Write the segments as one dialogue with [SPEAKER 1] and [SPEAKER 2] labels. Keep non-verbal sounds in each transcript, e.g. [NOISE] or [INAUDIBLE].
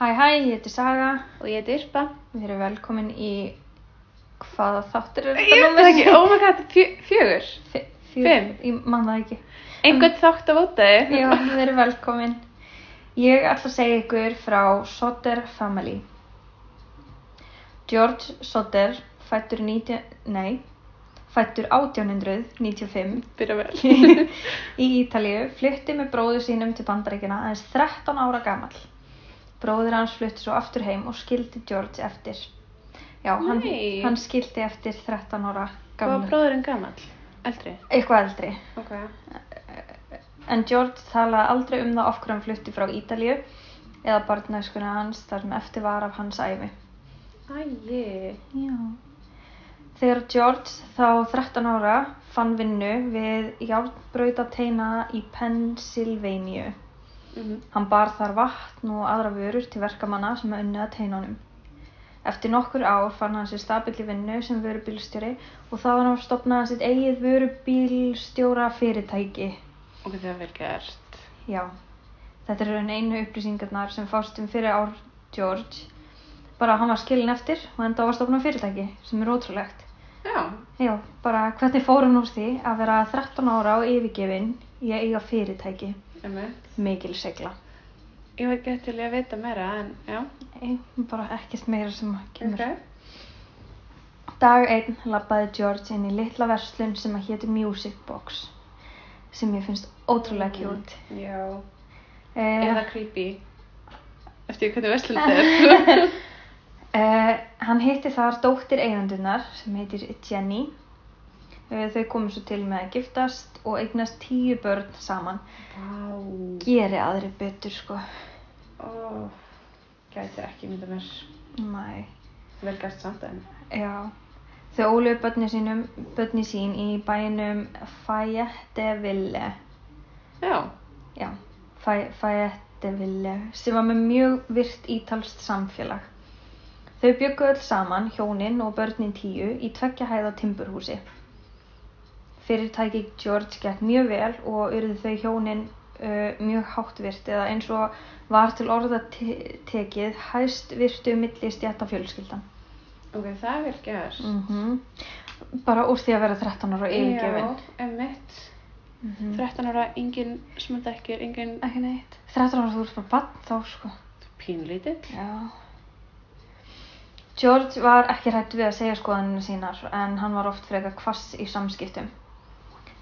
[SPEAKER 1] Hæ, ég heiti Saga
[SPEAKER 2] Og ég heiti Irpa.
[SPEAKER 1] Við erum velkomin í hvaða þáttur er
[SPEAKER 2] Ég veit það ekki, oh my god, fjö, fjögur.
[SPEAKER 1] F
[SPEAKER 2] Fimm.
[SPEAKER 1] Ég man það ekki
[SPEAKER 2] Einhvern þátt að vota þig.
[SPEAKER 1] Já, við erum velkomin Ég ætla að segja ykkur frá Sotter Family George Sotter fættur 19... Nei fættur 1895
[SPEAKER 2] Byrja vel.
[SPEAKER 1] í Ítalíu flytti með bróður sínum til bandaríkina aðeins 13 ára gamall. Bróður hans flytti svo aftur heim og skildi George eftir. Já, hann,
[SPEAKER 2] Nei.
[SPEAKER 1] hann skildi eftir 13 ára
[SPEAKER 2] Hvað var
[SPEAKER 1] gamall.
[SPEAKER 2] bróðurinn gamall? Eldri.
[SPEAKER 1] Eitthvað eldri.
[SPEAKER 2] Ok.
[SPEAKER 1] En George talaði aldrei um það af hverju hann flutti frá Ítalíu eða barnæskuna hans þar sem eftir var af hans æfi.
[SPEAKER 2] Æji.
[SPEAKER 1] Já. Þegar George þá 13 ára fann vinnu við járnbrautateina í Pennsylvania.
[SPEAKER 2] Mhm.
[SPEAKER 1] Hann bar þar vatn og aðra vörur til verkamanna sem að unnið að teinunum. Eftir nokkur ár fann hann sér stabill í vinnu sem vörubílstjóri og þá var hann stopnaði sitt eigið vörubílstjóra fyrirtæki.
[SPEAKER 2] Ok, það er vel gert.
[SPEAKER 1] Já, þetta eru enn einu upplýsingarnar sem fást um fyrir ár George. Bara hann var skilin eftir og enda á að stopna fyrirtæki sem er ótrúlegt.
[SPEAKER 2] Já.
[SPEAKER 1] Já, bara hvernig fórum úr því að vera 13 ára og yfirgefin í að eiga fyrirtæki?
[SPEAKER 2] Emmett.
[SPEAKER 1] Mikil segla.
[SPEAKER 2] Ég var gett til í að vita meira en, já.
[SPEAKER 1] Nei, bara ekkert meira sem að kemur.
[SPEAKER 2] Ok.
[SPEAKER 1] Dag einn labbaði George inn í litla verslun sem að héti Music Box sem ég finnst ótrúlega kjút.
[SPEAKER 2] Já. Eða
[SPEAKER 1] Uh,
[SPEAKER 2] creepy. Eftir hvernig verslun [LAUGHS] þetta er.
[SPEAKER 1] uh, hann hitti þar dóttir eigandunar sem heitir Jenny. Uh, þau komu svo til með að giftast og eignast tíu börn saman.
[SPEAKER 2] Vá.
[SPEAKER 1] Geri aðri betur sko.
[SPEAKER 2] Ó. Gæti ekki mynda mér.
[SPEAKER 1] Næ,
[SPEAKER 2] Vel gert samt en.
[SPEAKER 1] já. Þau óluðu börni, sínum, börni sín í bænum Fayetteville.
[SPEAKER 2] Já.
[SPEAKER 1] Já, fæ, fæetteville, sem var með mjög virt ítalst samfélag. Þau byggu öll saman, hjónin og börnin tíu, í tveggja hæða timburhúsi. Fyrirtæki George gekk mjög vel og urðu þau hjónin uh, mjög háttvirt eða eins og var til orða te- tekið hæst virtu milli stjætta fjölskyldan.
[SPEAKER 2] Ok, það er vel gert.
[SPEAKER 1] Bara úr því að vera 13 ára og yfirgefin.
[SPEAKER 2] Já, emitt.
[SPEAKER 1] Mm -hmm.
[SPEAKER 2] 13 ára, engin smöldekkir, engin
[SPEAKER 1] Ekki neitt. 13 ára þú ert bara bann þá sko.
[SPEAKER 2] pínlítill.
[SPEAKER 1] Já. George var ekki hrætt við að segja skoðanina sínar en hann var oft frekar kvass í samskiptum.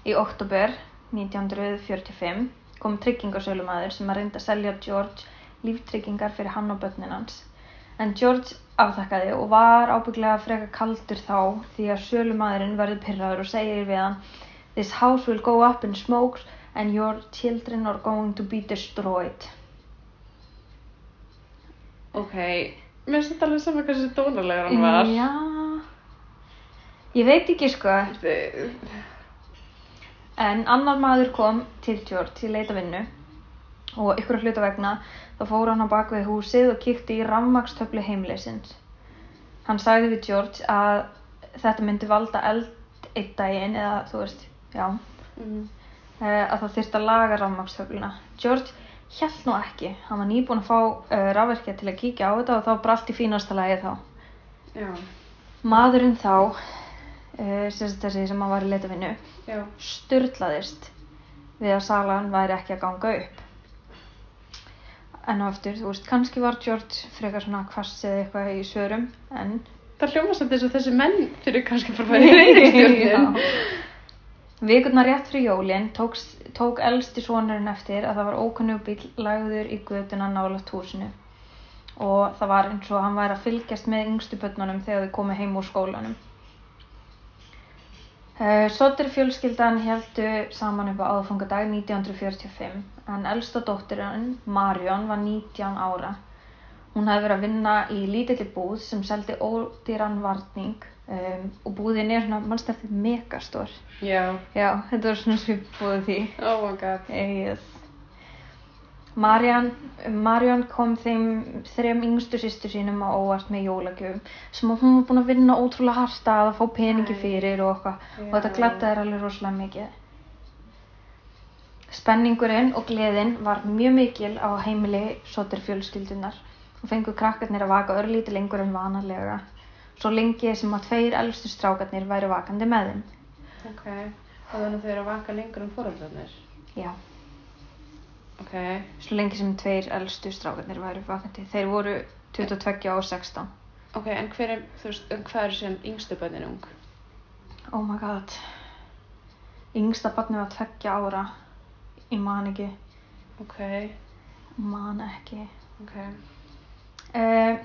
[SPEAKER 1] Í oktober 1945 kom tryggingasölumæður sem að reynda að selja George líftryggingar fyrir hann og börnin hans. En George afþakkaði og var ábygglega frekar kaldur þá því að sölumæðurinn verði pyrraður og segir við hann This house will go up in smoke and your children are going to be destroyed.
[SPEAKER 2] Ok, mér finnst þetta alveg saman hversu dónalegur hann var.
[SPEAKER 1] Já, ég veit ekki sko.
[SPEAKER 2] Þi-
[SPEAKER 1] En annar maður kom til George í leita vinnu og ykkur hluta vegna þá fór hann á bak við húsið og kíkti í rammakstöflu heimleysins. Hann sagði við George að þetta myndi valda eld eitt daginn eða þú veist, já,
[SPEAKER 2] Mm.
[SPEAKER 1] eh, að það þyrfti að laga rammakstöfluna. George held nú ekki, hann var nýbúinn að fá uh, rafverkja til að kíkja á þetta og þá brallt í fínasta lagi þá.
[SPEAKER 2] Já,
[SPEAKER 1] Maðurinn þá, uh, sem sagt þessi sem hann var í leitavinnu,
[SPEAKER 2] já.
[SPEAKER 1] styrlaðist við að salan væri ekki að ganga upp. En á aftur, þú veist, kannski var George frekar svona kvass eða eitthvað í svörum, en...
[SPEAKER 2] Það hljóma samt eins og þessi menn fyrir kannski bara að fara í reyðistjórnin.
[SPEAKER 1] Vikurnar rétt fyrir jólin tók, tók elsti sonurinn eftir að það var ókunnug bíl lagður í göduna nálaft húsinu og það var eins og hann væri að fylgjast með yngstu börnunum þegar þau komu heim úr skólanum. Sotir fjölskyldan heldu saman upp á aðfangadag 1945 en elsta dóttirinn, Marion, var 19 ára. Hún hefði verið að vinna í lítilli búð sem seldi ódýran varning um, og búðin er svona, mannst eftir megastór.
[SPEAKER 2] Já,
[SPEAKER 1] Já, þetta var svona svipbúð því.
[SPEAKER 2] oh my god.
[SPEAKER 1] Eh, Yes. Marian, Marian kom þeim þrem yngstu sýstu sínum á óvart með jólagjöfum sem að hún var búin að vinna ótrúlega harta að fá peningi
[SPEAKER 2] Æ.
[SPEAKER 1] fyrir og eitthvað og þetta
[SPEAKER 2] Já.
[SPEAKER 1] glætti þær alveg rosalega mikið. Spenningurinn og gleðin var mjög mikil á heimili sotir fjölskyldunar og fengu krakkarnir að vaka örlítið lengur en vanalega, svo lengi sem að tveir elstu strákarnir væru vakandi með þeim.
[SPEAKER 2] Ok, og þannig að þau eru að vaka lengur en fóröldarnir.
[SPEAKER 1] Já,
[SPEAKER 2] Ok,
[SPEAKER 1] svo lengi sem tveir elstu strákarnir væru vakandi. Þeir voru 22 og 16.
[SPEAKER 2] ok, en hver er, þú veist, en hvað er sem yngstu bönnin ung?
[SPEAKER 1] Oh my god. Yngsta barni var 20 ára. Ég man ekki,
[SPEAKER 2] Ok,
[SPEAKER 1] man ekki.
[SPEAKER 2] ok,
[SPEAKER 1] Eh,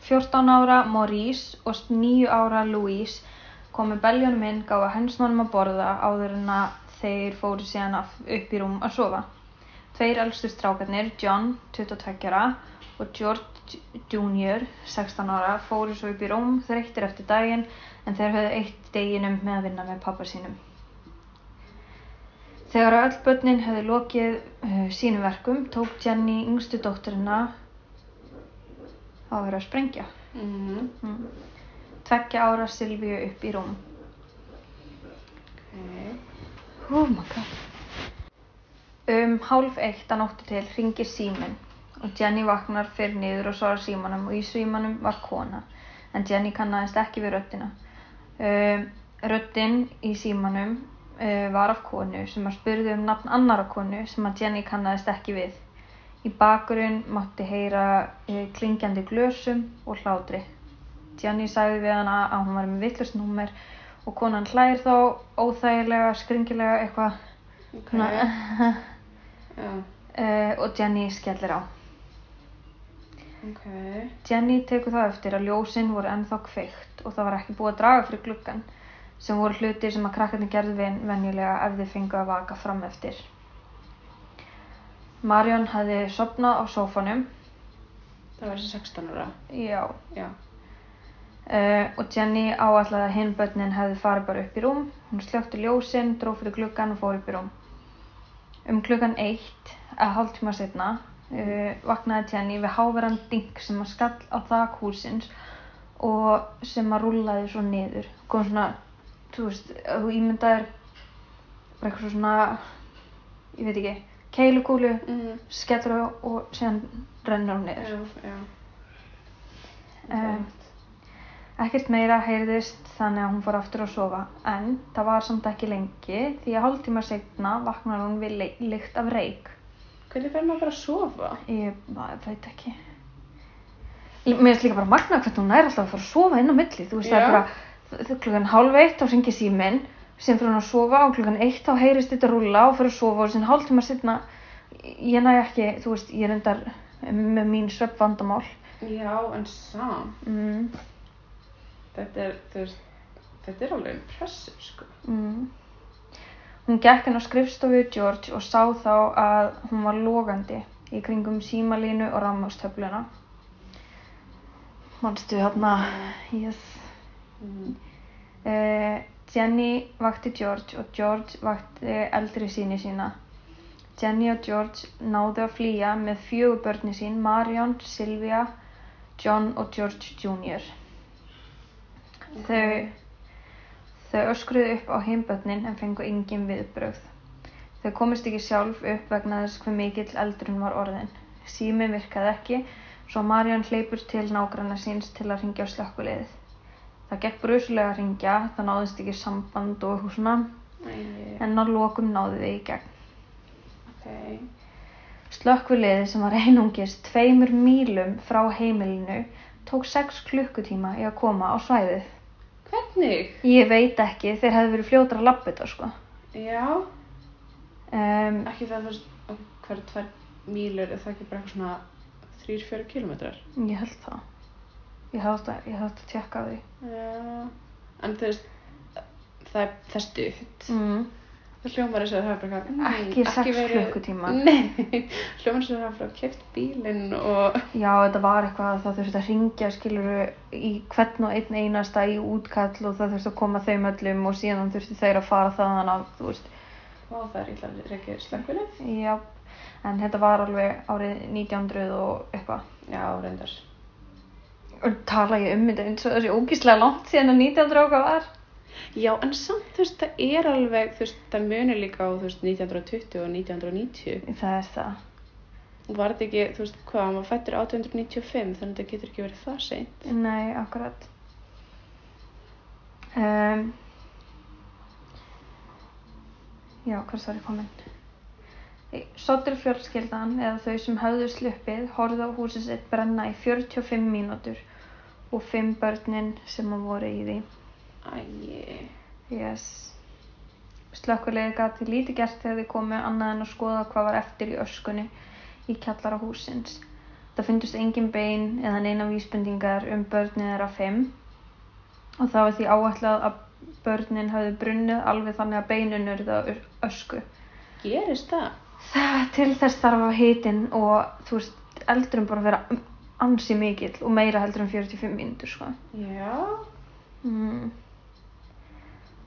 [SPEAKER 1] 14 ára Maurice og 9 ára Louise komu beljónum inn, gáðu hensnónum að borða áður en að þeir fóru síðan af- upp í rúm að sofa. Tveir elstu strákarnir, John, 22 ára og George Jr., 16 ára, fóru svo upp í rúm þreyttir eftir daginn en þeir höfðu eitt deginum með að vinna með pappa sínum. Þegar öll börnin höfðu lokið uh, sínum verkum tók Jenny yngstu dótturina Það var verið að sprengja.
[SPEAKER 2] mhm,
[SPEAKER 1] Mm. Tveggja ára Silvíu upp í rúm.
[SPEAKER 2] ok,
[SPEAKER 1] Oh my god. Um hálf eitt að nóttu til ringir síminn og Jenny vaknar fyrir niður og svarar símanum og í símanum var kona. En Jenny kannaðist ekki við röddina. Um, röddin í símanum uh, var af konu sem að spurði um nafn annara konu sem að Jenny kannaðist ekki við. Í bakurinn mátti heyra uh, klingjandi glösum og hlátri. Gianni sagði við hana að hún var með vittlustnúmer og konan hlær þá óþægilega, skringilega eitthvað
[SPEAKER 2] ok,
[SPEAKER 1] [LAUGHS] okay.
[SPEAKER 2] já,
[SPEAKER 1] uh, og Jenny skellir á.
[SPEAKER 2] ok,
[SPEAKER 1] Jenny tekur það eftir að ljósin voru ennþá kveikt og það var ekki búið að draga fyrir gluggan sem voru hlutir sem að krakkarnir gerðu ven- venjulega ef þið fengu að vaka fram eftir. Marion hafði sopnað á sófanum,
[SPEAKER 2] það var þessi 16 ára,
[SPEAKER 1] já,
[SPEAKER 2] já,
[SPEAKER 1] Uh, og Jenny áallega að hinn börnin hefði farið bara upp í rúm. Hún slökkti ljósin, dró fyrir gluggan og fór upp í rúm. Um klukkan eitt, að hálftíma setna, uh, vaknaði Jenny við háveran ding sem að skall á þak húsins og sem að rúllaði svo niður. Kom svona, þú veist, að þú ímyndaðir bara eitthvað svona, ég veit ekki, keilukúlu,
[SPEAKER 2] mhm,
[SPEAKER 1] skellur á og síðan rennur hún niður.
[SPEAKER 2] já, já, Eh.
[SPEAKER 1] Um, Ekkert meira heyrðist þannig að hún fór aftur að sofa en það var samt ekki lengi því að hálftíma segna vaknar hún við le- lykt af reik.
[SPEAKER 2] hvernig fer maður bara að sofa?
[SPEAKER 1] Ég ma- veit ekki. L- Mér finnst líka bara magna hvernig hún er alltaf að fara að sofa inn á milli. Þú veist það
[SPEAKER 2] Já.
[SPEAKER 1] er bara þ- þ- klukkan hálf eitt þá ringi síminn sem fyrir hún að sofa og klukkan eitt þá heyrist þetta rúla og fyrir að sofa og sem hálftíma segna ég næ ekki, þú veist, ég er endar með mín svefnvandamál.
[SPEAKER 2] Já, en samt,
[SPEAKER 1] Mm,
[SPEAKER 2] þetta er, þú veist, þetta er alveg impressive, sko,
[SPEAKER 1] Mm. Hún gekk inn á skrifstofu George og sá þá að hún var logandi í kringum símalínu og rammastöfluna. Manstu hérna,
[SPEAKER 2] Ah.
[SPEAKER 1] yes.
[SPEAKER 2] mhm,
[SPEAKER 1] Uh, Jenny vakti George og George vakti eldri síni sína. Jenny og George náðu að flýja með fjögur börni sín, Marion, Sylvia, John og George Jr. Þau, þau öskruðu upp á heimbötnin en fengu engin viðbrögð. Þau komist ekki sjálf upp vegna þess hver mikill eldurinn var orðin. Síminn virkaði ekki, svo Marian hleypur til nágranna síns til að ringja á slökkuleiðið. Það gekk brusulega að ringja, það náðist ekki samband og eitthvað svona,
[SPEAKER 2] Æi,
[SPEAKER 1] en á lokum náði þau í gegn.
[SPEAKER 2] ok,
[SPEAKER 1] Slökkviliðið sem var einungis tveimur mílum frá heimilinu tók sex klukkutíma í að koma á svæðið.
[SPEAKER 2] hvernig?
[SPEAKER 1] Ég veit ekki, þeir hefðu verið fljótar að labba þetta sko.
[SPEAKER 2] Já,
[SPEAKER 1] Um,
[SPEAKER 2] ekki það fyrst hverja tvær mílur er það ekki bara eitthvað svona þrýr, fjöru kilometrar
[SPEAKER 1] ég held það. Ég held að, ég held að tjekka á því.
[SPEAKER 2] Já, en þú veist það er það er stutt
[SPEAKER 1] Mm.
[SPEAKER 2] það hljómar þess að það er bara eitthvað mm,
[SPEAKER 1] Ekki sex klukkutíma.
[SPEAKER 2] Nei, hljómar þess að það er bara keft bílinn og
[SPEAKER 1] Já, þetta var eitthvað að það þurfti að ringja skiluru í hvern og einn einasta í útkall og það þurfti að koma þeim öllum og síðan þurfti þeir að fara þaðan af, þú veist.
[SPEAKER 2] og það er illa reykja slökkulið
[SPEAKER 1] Já, en þetta var alveg árið 1900 og eitthvað.
[SPEAKER 2] Já, reyndar
[SPEAKER 1] Og tala ég um þetta eins og þessi ógíslega langt síðan að 1900 okkar var.
[SPEAKER 2] Já, en samt þú veist það er alveg þú veist það munir líka á þú veist 1920 og 1990
[SPEAKER 1] Það er það.
[SPEAKER 2] var þetta ekki, þú veist hvað, hann var fættur 1895 þannig að þetta getur ekki verið það seint.
[SPEAKER 1] Nei, akkurat. Um, já, hvers var ég komin? Sottur fjölskyldan eða þau sem höfðu sluppið horfðu á húsið sitt brenna í 45 mínútur og fimm börnin sem að voru í því.
[SPEAKER 2] Æi,
[SPEAKER 1] Yes. Slökkulega gati lítið gert þegar þið komu annað en að skoða hvað var eftir í öskunni í kjallara húsins. Það fundust engin bein eða neina vísbendingar um börnin þeirra fimm og það var því áætlað að börnin hafði brunnið alveg þannig að beinin urðu að ösku.
[SPEAKER 2] gerist það?
[SPEAKER 1] Það til þess þarf að hitinn og þú veist, eldurum bara að vera ansi mikill og meira heldur en 45 mínútur, sko.
[SPEAKER 2] Já.
[SPEAKER 1] Mm.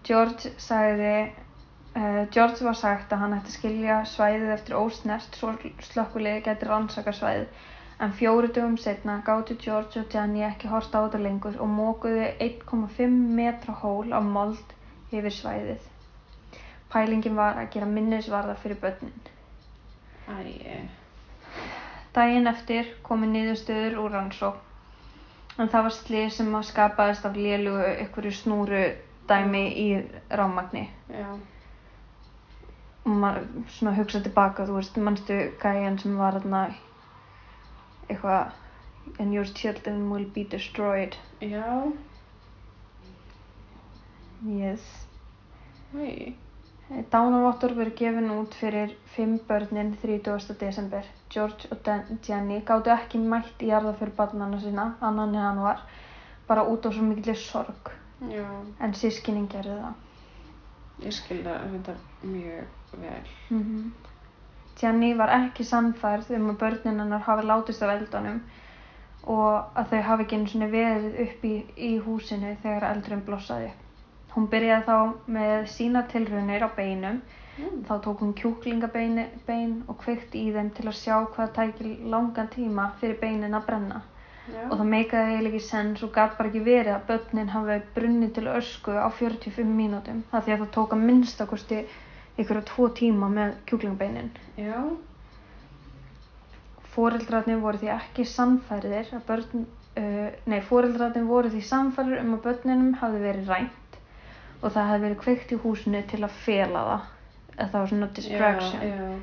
[SPEAKER 1] George sagði uh, George var sagt að hann ætti að skilja svæðið eftir ósnert svo slökkuliði gæti rannsaka svæðið en fjóru dögum setna gátu George og Jenny ekki horta á þetta lengur og mókuðu 1,5 metra hól á mold yfir svæðið Pælingin var að gera minnisvarða fyrir börnin
[SPEAKER 2] Æi,
[SPEAKER 1] Daginn eftir komi niðurstöður úr rannsók. En það var slið sem að skapaðist af lélugu ykkur snúru dæmi í rámagni.
[SPEAKER 2] já.
[SPEAKER 1] Og maður svona hugsa tilbaka, þú veist, mannstu gæjan sem var þarna eitthvað And your children will be destroyed.
[SPEAKER 2] Já,
[SPEAKER 1] Yes.
[SPEAKER 2] æi.
[SPEAKER 1] Dánavottur verið gefin út fyrir fimm börnin 30. desember. George og Dan- Jenny gáttu ekki mætt í jarða fyrir barnana sína, annan en hann var, bara út á svo mikilvæg sorg.
[SPEAKER 2] Já,
[SPEAKER 1] En sískinning gerði það.
[SPEAKER 2] ég skil það þetta mjög vel.
[SPEAKER 1] Jenny var ekki samfærð um að börnin hennar hafi látist af eldunum og að þau hafi ekki einu sinni verið upp í, í húsinu þegar eldurinn blossaði. upp. Hún byrjaði þá með sína tilraunir á beinum,
[SPEAKER 2] Mm.
[SPEAKER 1] þá tók hún kjúklingabein bein og kveikt í þeim til að sjá hvað tækir langan tíma fyrir beinin að brenna.
[SPEAKER 2] Já,
[SPEAKER 1] Og það meikaði eiginlega ekki sens og gat bara ekki verið að börnin hafi brunnið til ösku á 45 mínútum. Það því að það tók að minnstakosti ykkur á tvo tíma með kjúklingbeinin.
[SPEAKER 2] já,
[SPEAKER 1] Fóreldrarnir voru því ekki samfærðir að börn, uh, nei, fóreldrarnir voru því samfærðir um að börninum hafi verið rænt og það hafi verið kveikt í húsinu til að fela það. Eða það var svona distraction.
[SPEAKER 2] já, já.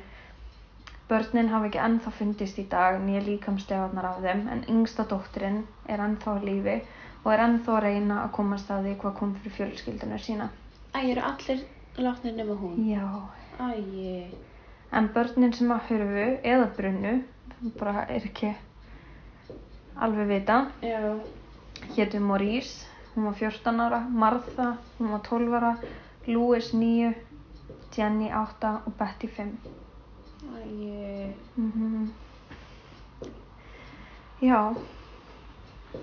[SPEAKER 1] Börnin hafa ekki ennþá fundist í dag nýja líkamstegarnar af þeim en yngsta dóttirinn er ennþá á lífi og er ennþá að reyna að komast að því hvað kom fyrir fjölskyldunar sína.
[SPEAKER 2] Æi, eru allir látnir nema hún?
[SPEAKER 1] Já.
[SPEAKER 2] Æi,
[SPEAKER 1] En börnin sem að hörfu eða brunnu, það bara er ekki alveg vita,
[SPEAKER 2] já,
[SPEAKER 1] hétu Maurice, hún var 14 ára, Martha, hún var 12 ára, Louis 9, Jenny 8 og Betty 5.
[SPEAKER 2] æi.
[SPEAKER 1] Mm Já.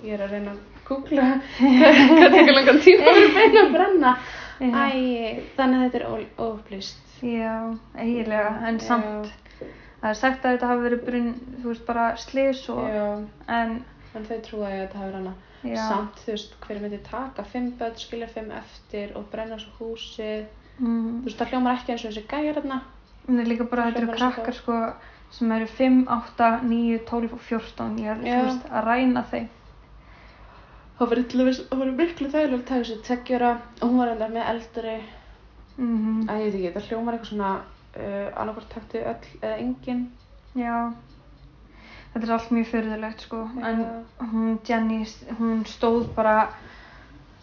[SPEAKER 2] Ég er að reyna að googla [LAUGHS] hvað tekur langan tíma fyrir beina að brenna.
[SPEAKER 1] Já.
[SPEAKER 2] Æi, þannig að þetta er ó- óupplýst.
[SPEAKER 1] Já, eiginlega, en
[SPEAKER 2] Já.
[SPEAKER 1] samt það er sagt að þetta hafi verið brunn, þú veist, bara slis og,
[SPEAKER 2] Já,
[SPEAKER 1] en,
[SPEAKER 2] en þau trúa ég að þetta hefur hana.
[SPEAKER 1] já,
[SPEAKER 2] Samt, þú veist, hver myndi taka fimm börn, skilja fimm eftir og brenna svo húsið. Þú
[SPEAKER 1] mm,
[SPEAKER 2] veist, það hljómar ekki eins og þessi gæjar þarna.
[SPEAKER 1] en er líka bara
[SPEAKER 2] Það
[SPEAKER 1] þetta eru
[SPEAKER 2] hljómar eins og
[SPEAKER 1] krakkar, sko, sem eru 5, 8, 9, 12 og 14, ég held,
[SPEAKER 2] Já.
[SPEAKER 1] þú veist, að ræna þeim.
[SPEAKER 2] Það var, illa- það var miklu þægilega að taka þessi tveggjara og hún var enda með eldri.
[SPEAKER 1] Mm
[SPEAKER 2] Æ, ég veit ekki, það hljómar eitthvað svona uh, annarkvort taktu öll eða engin.
[SPEAKER 1] Já, þetta er allt mjög fyrðulegt, sko, en
[SPEAKER 2] Já.
[SPEAKER 1] hún, Jenny, hún stóð bara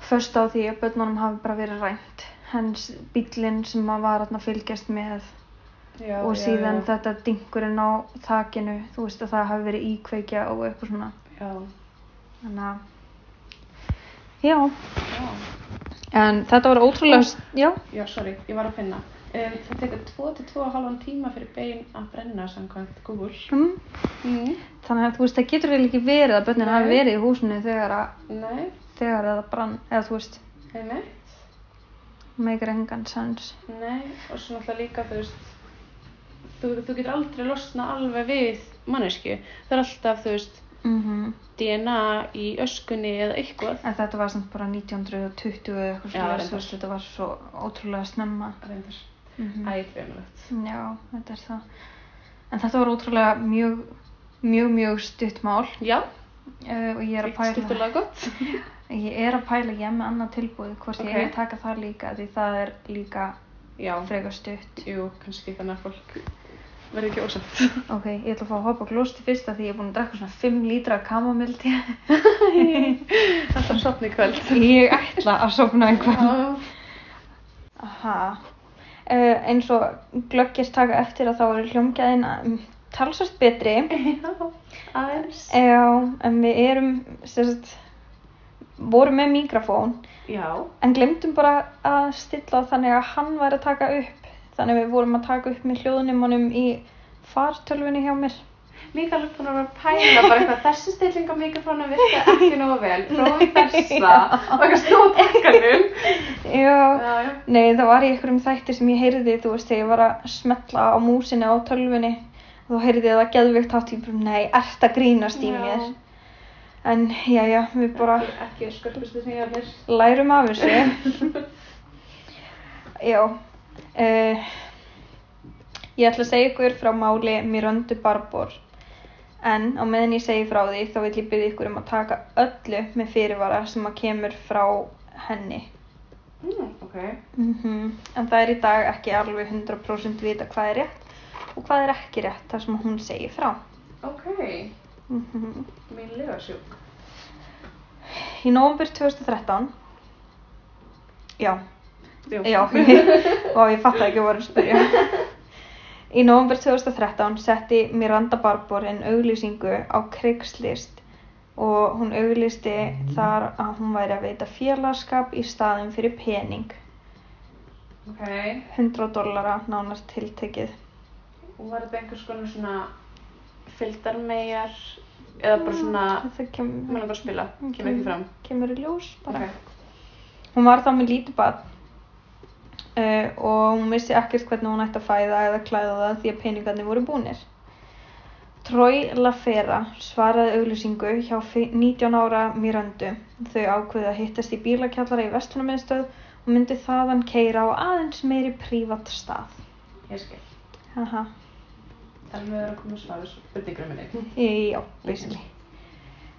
[SPEAKER 1] föst á því að börnunum hafi bara verið rænt, hens bíllinn sem að var að fylgjast með
[SPEAKER 2] Já,
[SPEAKER 1] og
[SPEAKER 2] já,
[SPEAKER 1] síðan
[SPEAKER 2] já.
[SPEAKER 1] þetta dingurinn á þakinu, þú veist að það hafi verið íkveikja og eitthvað svona.
[SPEAKER 2] Já,
[SPEAKER 1] Þannig að, já,
[SPEAKER 2] já.
[SPEAKER 1] en þetta var ótrúlega, já,
[SPEAKER 2] Já, sorry, ég var að finna. Um, það tekur 2 til 2,5 tíma fyrir bein að brenna samkvæmt Google.
[SPEAKER 1] mm.
[SPEAKER 2] Mm.
[SPEAKER 1] þannig að þú veist það getur vel ekki verið að börnin
[SPEAKER 2] Nei.
[SPEAKER 1] hafi verið í húsinu þegar að,
[SPEAKER 2] Nei,
[SPEAKER 1] þegar að það brann, eða þú veist,
[SPEAKER 2] einmitt.
[SPEAKER 1] meikir engan sens.
[SPEAKER 2] Nei, og svo náttúrulega líka, þú veist, þú, þú getur aldrei losna alveg við mannesku. Það er alltaf, þú veist,
[SPEAKER 1] Mm
[SPEAKER 2] Mhm. DNA í öskunni eða eitthvað.
[SPEAKER 1] En þetta var samt bara 1920 eða eitthvað
[SPEAKER 2] Já,
[SPEAKER 1] svona,
[SPEAKER 2] reyndar. Mhm.
[SPEAKER 1] þú veist þetta var svo ótrúlega snemma.
[SPEAKER 2] Reyndar.
[SPEAKER 1] Mm
[SPEAKER 2] Æ, þetta er umlegt.
[SPEAKER 1] Já, þetta er það. En þetta var ótrúlega mjög, mjög, mjög stutt mál
[SPEAKER 2] Já,
[SPEAKER 1] uh, og ég er að
[SPEAKER 2] eitt
[SPEAKER 1] pæla,
[SPEAKER 2] skiptulega gott.
[SPEAKER 1] ég er að pæla ég er með annað tilbúið hvort ég
[SPEAKER 2] Ok.
[SPEAKER 1] er að taka það líka því það er líka
[SPEAKER 2] Já,
[SPEAKER 1] frekar stutt.
[SPEAKER 2] jú, kannski þannig að [LAUGHS] fólk verði ekki ósamt.
[SPEAKER 1] Ok, ég ætla að fá að hoppa glósti fyrst af því ég er búin að drekka svona 5 lítra af kamamildi.
[SPEAKER 2] [LAUGHS] Þetta er sopni kvöld.
[SPEAKER 1] [LAUGHS] ég ætla að sofna einhvern.
[SPEAKER 2] Já,
[SPEAKER 1] Aha. Uh, eins og glöggir taka eftir að þá eru hljómgæðin um, talsvært betri [LAUGHS]
[SPEAKER 2] já, aðeins.
[SPEAKER 1] Já, en við erum sérst, vorum með mikrofón
[SPEAKER 2] Já,
[SPEAKER 1] en glemdum bara að stilla á þannig að hann væri að taka upp þannig að við vorum að taka upp með hljóðnumunum í fartölfunni hjá mér
[SPEAKER 2] líka alveg búin að vera að pæla bara eitthvað þessi stilling á mikrofónum virka ekki nógu
[SPEAKER 1] [LAUGHS]
[SPEAKER 2] vel, prófum þessa og eitthvað stóð takkanum.
[SPEAKER 1] Já,
[SPEAKER 2] Já, já.
[SPEAKER 1] nei það var í einhverjum þætti sem ég heyrði þú veist þegar ég var að smetla á músinu á tölfunni þá heyrði ég það geðveikt hátt ég bara nei, ert að grínast í
[SPEAKER 2] Já.
[SPEAKER 1] mér En já, já, við bara
[SPEAKER 2] Ekki, ekki sköpustu sem ég hafði.
[SPEAKER 1] lærum af þessu. já, uh, ég ætla að segja ykkur frá máli Miröndu Barbor. En á meðan ég segi frá því þá vil ég byrja ykkur um að taka öllu með fyrirvara sem að kemur frá henni.
[SPEAKER 2] Mm, ok.
[SPEAKER 1] Mhm. En það er í dag ekki alveg 100% vita hvað er rétt og hvað er ekki rétt þar sem hún segir frá.
[SPEAKER 2] Ok.
[SPEAKER 1] Mhm.
[SPEAKER 2] Mín lefarsjúk.
[SPEAKER 1] Í nóvambur 2013, já,
[SPEAKER 2] Jú.
[SPEAKER 1] Já, og ég fatt ekki að voru að spyrja. Í november 2013 setti Miranda Barbor en auglýsingu á Craigslist og hún auglýsti þar að hún væri að veita félagskap í staðin fyrir pening,
[SPEAKER 2] Ok.
[SPEAKER 1] 100 dollara nánar tiltekið.
[SPEAKER 2] Og var þetta einhvers konar svona fylgdarmegar eða
[SPEAKER 1] Mm.
[SPEAKER 2] bara svona,
[SPEAKER 1] Það
[SPEAKER 2] maður
[SPEAKER 1] kemur,
[SPEAKER 2] bara að spila, kemur ekki fram.
[SPEAKER 1] kemur í ljós bara.
[SPEAKER 2] Ok.
[SPEAKER 1] Hún var þá með lítið barn uh, og hún vissi ekkert hvernig hún ætti að fæða eða klæða það því að peningarnir voru búnir. Troy Lafera svaraði auglýsingu hjá fi- 19 ára Mirandu. Þau ákveðu að hittast í bílakjallara í vestlunarmiðstöð og myndi þaðan keira á aðeins meiri prívat stað.
[SPEAKER 2] Ég skil.
[SPEAKER 1] Haha,
[SPEAKER 2] Það er með að vera að koma svara spurningur minni.
[SPEAKER 1] [LAUGHS] í- já, basically.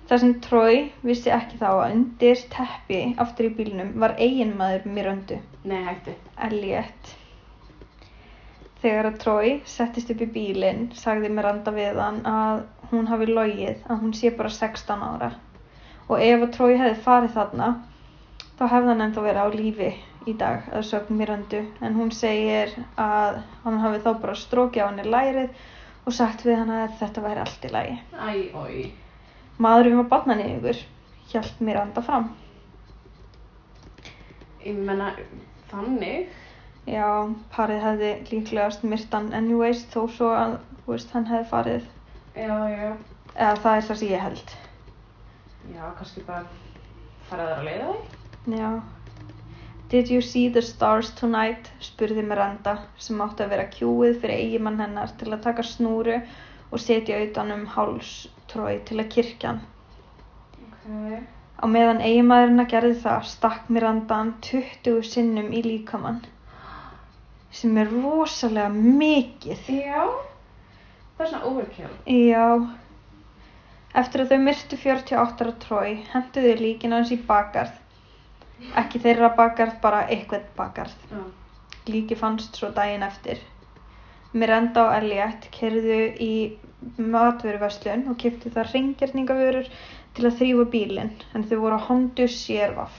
[SPEAKER 1] Þar sem Troy vissi ekki þá að undir teppi aftur í bílnum var eiginmaður Mirandu.
[SPEAKER 2] Nei, hættu.
[SPEAKER 1] Elliot. Þegar að Troy settist upp í bílinn sagði Miranda við hann að hún hafi logið að hún sé bara 16 ára og ef að Troy hefði farið þarna þá hefði hann ennþá verið á lífi í dag að sögn Mirandu en hún segir að hann hafi þá bara strókið á henni lærið og sagt við hann að þetta væri allt í lagi.
[SPEAKER 2] Æ, oi.
[SPEAKER 1] Maðurinn var barnaneyðingur, hjælt Miranda fram.
[SPEAKER 2] Ég menna, þannig.
[SPEAKER 1] Já, parið hefði líklegast myrtan anyways þó svo að þú veist, hann hefði farið
[SPEAKER 2] Já, já.
[SPEAKER 1] eða það er það sem ég held
[SPEAKER 2] Já, kannski bara fara þar að leiða þig.
[SPEAKER 1] Já Did you see the stars tonight? spurði Miranda sem átti að vera kjúið fyrir eigimann hennar til að taka snúru og setja utan um hálstrói til að kirkja hann.
[SPEAKER 2] Ok.
[SPEAKER 1] Á meðan eigimaðurinn að gerði það stakk Miranda hann 20 sinnum í líkamann sem er rosalega mikið
[SPEAKER 2] Já. Það er svona overkill.
[SPEAKER 1] Já. Eftir að þau myrtu 48 ára trói, henduðu líkin hans í bakarð. Ekki þeirra bakarð, bara eitthvað bakarð.
[SPEAKER 2] Já.
[SPEAKER 1] Líki fannst svo daginn eftir. Miranda og Elliot kerðu í matvöruverslun og kiptu þar ringjörningavörur til að þrýfa bílinn, en þau voru á Honda Sérvaf.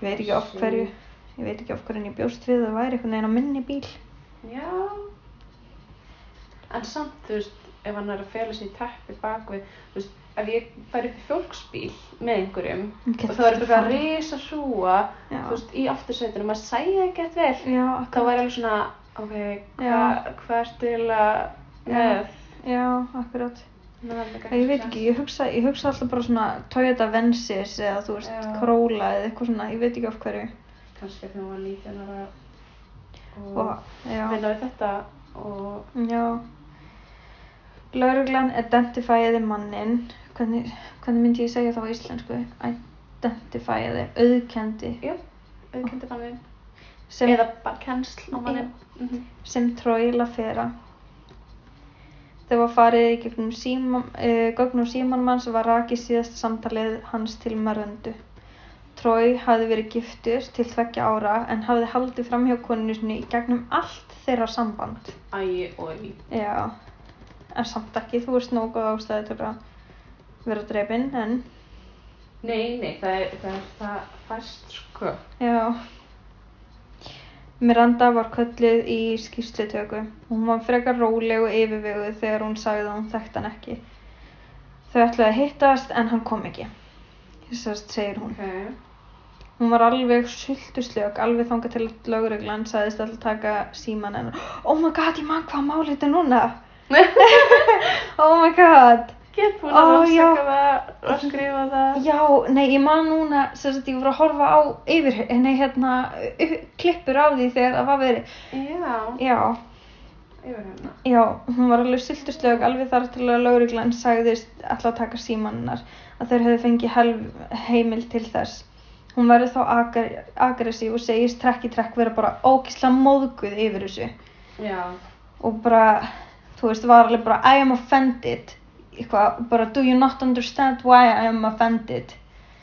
[SPEAKER 1] Ég veit ekki af hverju, ég veit ekki af hverju en ég bjóst við að það væri einhvern veginn á minni bíl.
[SPEAKER 2] Já. En samt, þú veist, ef hann er að fela sér í teppi bakvið, þú veist, ef ég fær upp í fjólksbíl með einhverjum
[SPEAKER 1] Hún getur
[SPEAKER 2] og það er
[SPEAKER 1] ekki
[SPEAKER 2] eitthvað að
[SPEAKER 1] farið.
[SPEAKER 2] risa hrúa,
[SPEAKER 1] Já.
[SPEAKER 2] þú veist, í aftursætinu, maður sæði það ekki eftir vel.
[SPEAKER 1] Já,
[SPEAKER 2] Þá væri alveg svona, ok, hvað
[SPEAKER 1] Já.
[SPEAKER 2] hva ertu eiginlega með?
[SPEAKER 1] Já, akkurát.
[SPEAKER 2] Þannig að það er líka
[SPEAKER 1] Ég veit ekki, ég hugsa, ég hugsa alltaf bara svona Toyota Vensis eða þú veist,
[SPEAKER 2] Já.
[SPEAKER 1] Corolla eða eitthvað svona, ég veit ekki af hverju.
[SPEAKER 2] Kannski þegar hún var 19 ára og,
[SPEAKER 1] Og, já,
[SPEAKER 2] vinna við þetta og
[SPEAKER 1] já. Lauruglan identifæði mannin, hvernig, hvernig myndi ég segja það á íslensku? Identifæði, auðkendi,
[SPEAKER 2] já, auðkendir manninn.
[SPEAKER 1] sem,
[SPEAKER 2] Eða bara kennsl á manninn. Mhm.
[SPEAKER 1] sem tróila fyrra. Þegar var farið í gegnum síma, uh, gögnum símanmanns var rakið síðasta samtalið hans til Maröndu. Trói hafði verið giftur til tveggja ára en hafði haldið framhjá koninu sinni í gegnum allt þeirra samband.
[SPEAKER 2] Æ, oi.
[SPEAKER 1] Já, en samt ekki, þú veist nógu góð ástæði til að vera drefin, en
[SPEAKER 2] Nei, nei, það er það, er það fæst, sko.
[SPEAKER 1] já. Miranda var kölluð í skýrslutöku. Hún var frekar róleg og yfirveguð þegar hún sagði að hún þekkt hann ekki. Þau ætlaði að hittast en hann kom ekki. Þessast segir hún.
[SPEAKER 2] Ok.
[SPEAKER 1] Hún var alveg sultuslök, alveg þangað til að lögreglan sagðist alltaf taka síman hennar. Oh my god, ég man hvað málið þetta er núna. Oh my god.
[SPEAKER 2] Get búin
[SPEAKER 1] Ó,
[SPEAKER 2] að
[SPEAKER 1] já.
[SPEAKER 2] rannsaka það og skrifa það.
[SPEAKER 1] Já, nei, ég man núna, sem sagt, ég voru að horfa á yfir, nei, hérna, upp- klippur á því þegar það var verið.
[SPEAKER 2] Já,
[SPEAKER 1] Já,
[SPEAKER 2] yfir hérna.
[SPEAKER 1] já, hún var alveg sultuslök, alveg þar til að lögreglan sagðist alltaf að taka síman hennar. Að þeir hefðu fengið helf, heimil til þess. Hún verður þá agre- aggressív og segist trekk í trekk vera bara ógislega móðguð yfir þessu.
[SPEAKER 2] Já.
[SPEAKER 1] og bara, þú veist, var alveg bara I am offended eitthvað, bara do you not understand why I am offended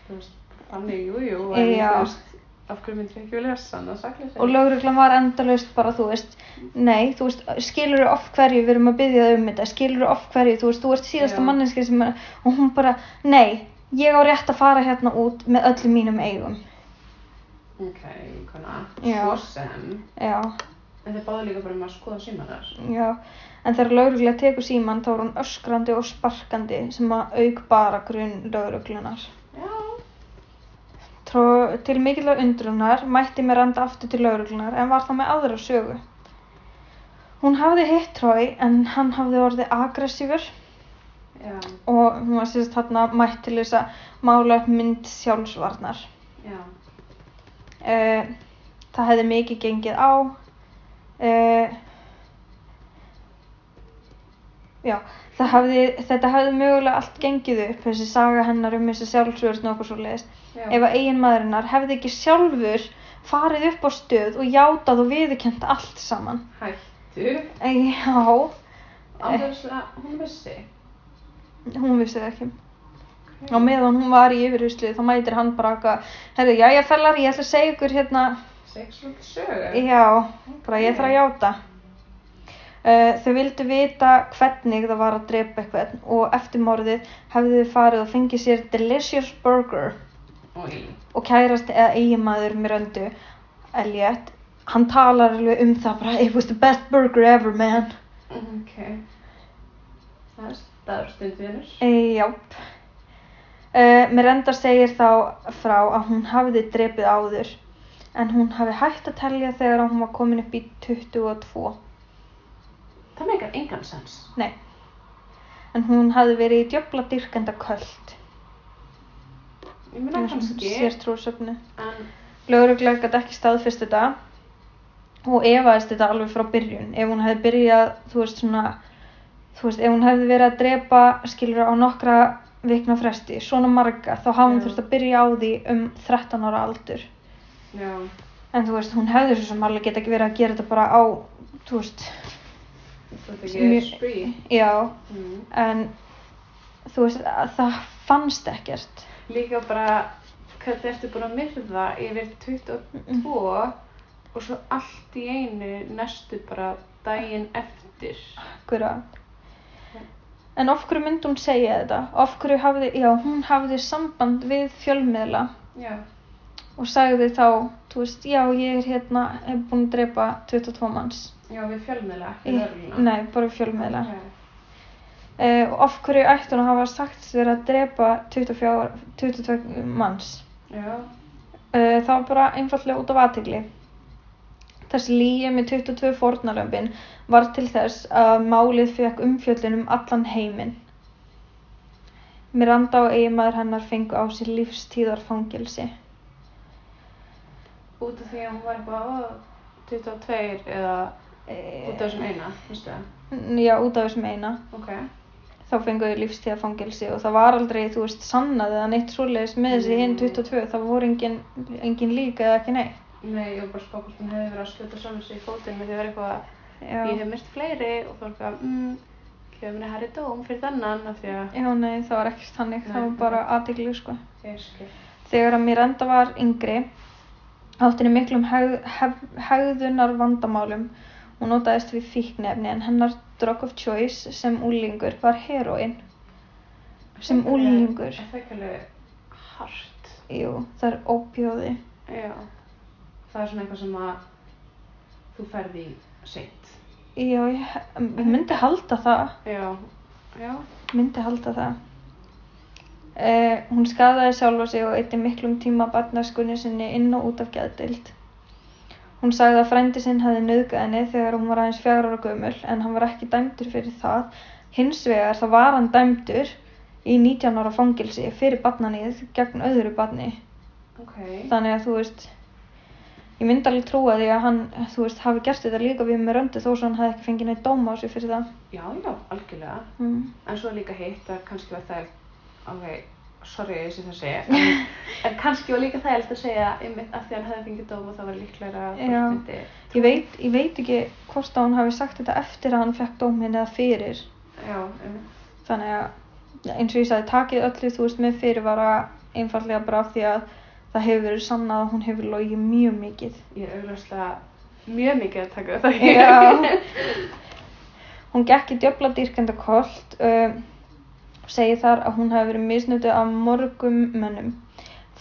[SPEAKER 2] Þú veist, þannig, jú, jú, en
[SPEAKER 1] Já.
[SPEAKER 2] þú veist, af hverju myndir ekki að lesa hann að sakla
[SPEAKER 1] og lögreglan var endalaust bara, þú veist nei, þú veist, skilur þú of hverju við erum að byggja þau um þetta, skilur þú of hverju þú veist, þú ert síðasta
[SPEAKER 2] Já.
[SPEAKER 1] manninski sem er og hún bara, nei, ég á rétt að fara hérna út með öllum mínum eigum
[SPEAKER 2] Ok, kona,
[SPEAKER 1] Já.
[SPEAKER 2] svo sem.
[SPEAKER 1] já,
[SPEAKER 2] En þeir báðu líka bara um að skoða símanar.
[SPEAKER 1] já en þegar lögreglan tekur síman þá er hún öskrandi og sparkandi sem að auk bara grunn lögreglunar
[SPEAKER 2] Já.
[SPEAKER 1] Tró, til mikillar undrunar mætti Miranda aftur til lauruglunar en var þá með aðra sögu. Hún hafði hitt Trói en hann hafði orðið aggressífur
[SPEAKER 2] Já,
[SPEAKER 1] og hún var sérst þarna mætt til þess að mála upp mynd sjálfsvarnar.
[SPEAKER 2] já.
[SPEAKER 1] Uh, það hefði mikið gengið á. Uh, já, það hafði, þetta hefði mögulega allt gengið upp, þessi saga hennar um þessi sjálfsvörn og okkur svo leiðist.
[SPEAKER 2] já.
[SPEAKER 1] ef að eiginmaðurinnar hefði ekki sjálfur farið upp á stöð og játað og viðurkent allt saman.
[SPEAKER 2] Hættu.
[SPEAKER 1] Eh, Já, Eh.
[SPEAKER 2] Án þess að hún vissi.
[SPEAKER 1] hún vissi það ekki. Á meðan hún var í yfirhyslu þá mætir hann bara eitthvað, herru, já, ég fellar, ég ætla að segja ykkur hérna,
[SPEAKER 2] Sexual sögur.
[SPEAKER 1] já, bara ég þarf að játa. Uh, þau vildu vita hvernig það var að drepa eitthvað og eftir morðið hefðu þau farið og fengið sér delicious burger.
[SPEAKER 2] Í.
[SPEAKER 1] og kærast eða eiginmaður Miröndu, Elliot, hann talar alveg um það bara, it was the best burger ever, man.
[SPEAKER 2] Ok. Það er staðurstund vinnur.
[SPEAKER 1] E, Jáp. Uh, Miranda segir þá frá að hún hafiði drepið áður, en hún hafi hægt að telja þegar hún var komin upp í 22.
[SPEAKER 2] Það meikar engan sens.
[SPEAKER 1] Nei. En hún hafi verið í djöfla dyrkenda köld.
[SPEAKER 2] Ég meina kannski,
[SPEAKER 1] Sér trúsöfnu.
[SPEAKER 2] en
[SPEAKER 1] Lögreglega gæti ekki staðfist þetta og efaðist þetta alveg frá byrjun. Ef hún hefði byrjað, þú veist svona, þú veist, ef hún hefði verið að drepa, skilur á nokkra vikna fresti, svona marga, þá hafði hún
[SPEAKER 2] Já.
[SPEAKER 1] þurft að byrja á því um 13 ára aldur.
[SPEAKER 2] já,
[SPEAKER 1] En þú veist, hún hefði svo sem alveg geta ekki verið að gera þetta bara á, þú veist,
[SPEAKER 2] þetta er
[SPEAKER 1] Mjög-
[SPEAKER 2] ekki spree.
[SPEAKER 1] já,
[SPEAKER 2] Mm.
[SPEAKER 1] en þú veist, að það fannst ekkert.
[SPEAKER 2] Líka bara, hvernig ertu búin að myrða yfir
[SPEAKER 1] Mm,
[SPEAKER 2] 22 og svo allt í einu næstu bara daginn eftir.
[SPEAKER 1] Akkurat. En af hverju myndi hún segja þetta? Af hverju hafði, já, hún hafði samband við fjölmiðla
[SPEAKER 2] Já.
[SPEAKER 1] og sagði þá, þú veist, já, ég er hérna, hef búin að drepa 22 manns.
[SPEAKER 2] Já, við fjölmiðla, ekki
[SPEAKER 1] Í-
[SPEAKER 2] lögregluna.
[SPEAKER 1] Eh, Nei, bara við fjölmiðla.
[SPEAKER 2] Ok.
[SPEAKER 1] Eh, og af hverju ætti hún að hafa sagt sér að drepa 24, 22 manns?
[SPEAKER 2] Já,
[SPEAKER 1] Eh, það var bara einfallega út af aðtegli. Þessi líi með 22 fórnarlömbin var til þess að málið fekk umfjöllun um allan heiminn. Miranda og eiginmaður hennar fengu á sér lífstíðarfangilsi.
[SPEAKER 2] út af því að hún var eitthvað ó, 22 eða út af þessum eina, veistu það?
[SPEAKER 1] Eh, Já, út af þessum eina.
[SPEAKER 2] Ok.
[SPEAKER 1] Þá fengu þau lífstíðarfangilsi og það var aldrei, þú veist, sannað eða neitt svoleiðis með þessi
[SPEAKER 2] Mm.
[SPEAKER 1] hinn 22. Það voru engin, engin líka eða ekki neitt.
[SPEAKER 2] Nei, ég var bara spákast, hún hefði verið að skjóta sjálfur sig í fótinn með því að vera eitthvað
[SPEAKER 1] Já,
[SPEAKER 2] ég hef myrt fleiri og þá er eitthvað, mm, ok, gjöfni herri dóm fyrir þennan af því að
[SPEAKER 1] Já, nei, það var ekkert þannig, það
[SPEAKER 2] Nei.
[SPEAKER 1] var bara aðdegli, sko.
[SPEAKER 2] ég skil.
[SPEAKER 1] Þegar að Miranda var yngri, átti henni miklum heg, hef, hegðunar vandamálum. Hún notaðist við fíknefni en hennar drug of choice sem úlingur var heroin. Sem úlingur.
[SPEAKER 2] Það er ekki alveg hart.
[SPEAKER 1] Jú, það er óbjóði.
[SPEAKER 2] Já. Það er svona eitthvað sem að þú ferði í seint.
[SPEAKER 1] Já, ég ég myndi halda það.
[SPEAKER 2] Já. Já.
[SPEAKER 1] Myndi halda það. Uh, hún skadaði sjálfa sig og eitti miklum tíma barnaskunni sinni inn og út af gæðdild. Hún sagði að frændi sinn hefði nauðgað henni þegar hún var aðeins fjagra ára gömul en hann var ekki dæmdur fyrir það. Hins vegar þá var hann dæmdur í 19 ára fangilsi fyrir barnaníð gegn öðru barni.
[SPEAKER 2] Ok.
[SPEAKER 1] Þannig að þú veist, ég myndi alveg trúa því að hann, þú veist, hafi gert þetta líka við með röndu þó svo hann hefði ekki fengið neitt dóma á sig fyrir það.
[SPEAKER 2] Já, já, algjörlega.
[SPEAKER 1] Mm.
[SPEAKER 2] En svo er líka hitt að kannski var það, ok, sorry að ég [LAUGHS] sé það að segja, en, en kannski var líka það að segja einmitt af því að hann hefði fengið dóm og það var líklega að
[SPEAKER 1] Já.
[SPEAKER 2] fólk myndi.
[SPEAKER 1] Ég, veit, ég veit ekki hvort að hann hafi sagt þetta eftir að hann fekk dóminn eða fyrir.
[SPEAKER 2] Já, einmitt.
[SPEAKER 1] Þannig að eins og ég sagði, takið öllu, þú veist, með fyrirvara einfallega bara af því að það hefur verið sannað að hún hefur logið mjög mikið.
[SPEAKER 2] Ég er augljóslega mjög mikið að taka þetta í.
[SPEAKER 1] Já. Hún gekk í djöfla dýrkendakolt um, og segir þar að hún hafi verið misnutuð af morgum mönnum.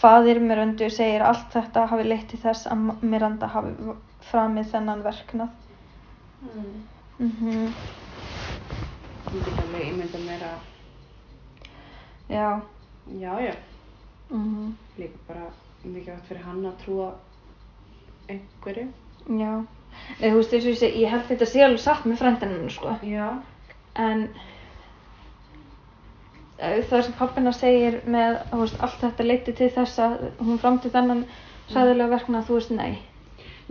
[SPEAKER 1] Fadir Mirandu segir að allt þetta hafi leitt til þess að M- Miranda hafi framið þennan verknað.
[SPEAKER 2] Mm.
[SPEAKER 1] Mm
[SPEAKER 2] Ég get alveg ímyndað mér að,
[SPEAKER 1] Já.
[SPEAKER 2] já, já,
[SPEAKER 1] Mm
[SPEAKER 2] líka bara mikilvægt fyrir hann að trúa einhverju.
[SPEAKER 1] Já. Nei, þú veist, eins og ég segi, ég held þetta sé alveg satt með frendinu, sko.
[SPEAKER 2] Já.
[SPEAKER 1] En eh, það sem pappina segir með, þú veist, allt þetta leiti til þess að hún framti þennan sæðilega verknað, þú veist, nei.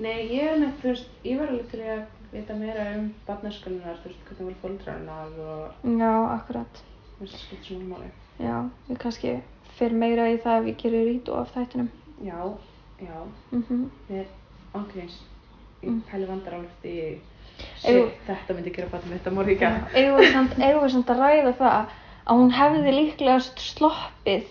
[SPEAKER 2] Nei, ég er nefnt, þú veist, ég var alveg til í að vita meira um barnaskunnar, þú veist, hvernig voru fólkdrarnar og
[SPEAKER 1] Já, akkurat.
[SPEAKER 2] þú veist, skipt sem hún máli.
[SPEAKER 1] Já, við kannski fyrir meira í það ef við gerum rít af þættinum.
[SPEAKER 2] Já, já,
[SPEAKER 1] Mm
[SPEAKER 2] við erum ángríns. Ég
[SPEAKER 1] Mm.
[SPEAKER 2] pæli vandar alveg því,
[SPEAKER 1] Jú.
[SPEAKER 2] shit, þetta myndi gera barnið mitt að morðingja.
[SPEAKER 1] Eigum við samt- eigum við samt að ræða það að hún hefði líklegast sloppið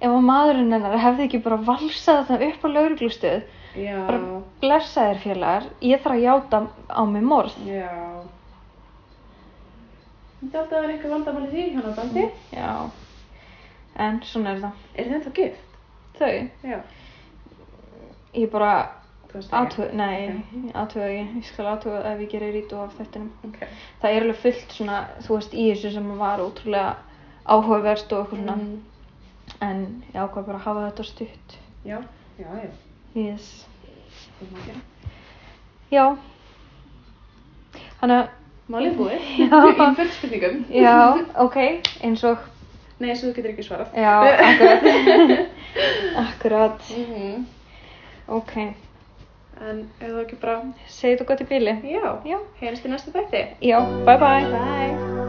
[SPEAKER 1] ef að maðurinn hennar hefði ekki bara valsað það upp á lauruglustöð.
[SPEAKER 2] Já,
[SPEAKER 1] Bara blessa þér félagar, ég þarf að játa á mig morð.
[SPEAKER 2] já. Myndi alltaf að vera eitthvað vandamál í því hann á bandi.
[SPEAKER 1] Mm. Já, en svona er það.
[SPEAKER 2] Er þetta gift?
[SPEAKER 1] Þau,
[SPEAKER 2] Já.
[SPEAKER 1] ég bara
[SPEAKER 2] Þú veist
[SPEAKER 1] aðtöð, nei, aðtöð ekki, ég skal aðtöð ef ég gerir rít af þættinum.
[SPEAKER 2] Ok.
[SPEAKER 1] það er alveg fullt svona, þú veist, í þessu sem var ótrúlega áhugavert og eitthvað svona
[SPEAKER 2] Mm.
[SPEAKER 1] en ég ákvað bara að hafa þetta stutt
[SPEAKER 2] Já, já, já.
[SPEAKER 1] yes.
[SPEAKER 2] Þú má gera.
[SPEAKER 1] já þannig að,
[SPEAKER 2] Málið búið.
[SPEAKER 1] [LAUGHS] Já.
[SPEAKER 2] Í fullt spurningum.
[SPEAKER 1] já, ok eins og,
[SPEAKER 2] [LAUGHS] Nei, svo þú getur ekki svarað. [LAUGHS]
[SPEAKER 1] já, akkurat akkurat,
[SPEAKER 2] Mhm.
[SPEAKER 1] ok
[SPEAKER 2] En ef þú ekki bara,
[SPEAKER 1] segið þú gott í bíli
[SPEAKER 2] já,
[SPEAKER 1] já,
[SPEAKER 2] heyrjumst í næsta þætti.
[SPEAKER 1] já, bye bye
[SPEAKER 2] Bye.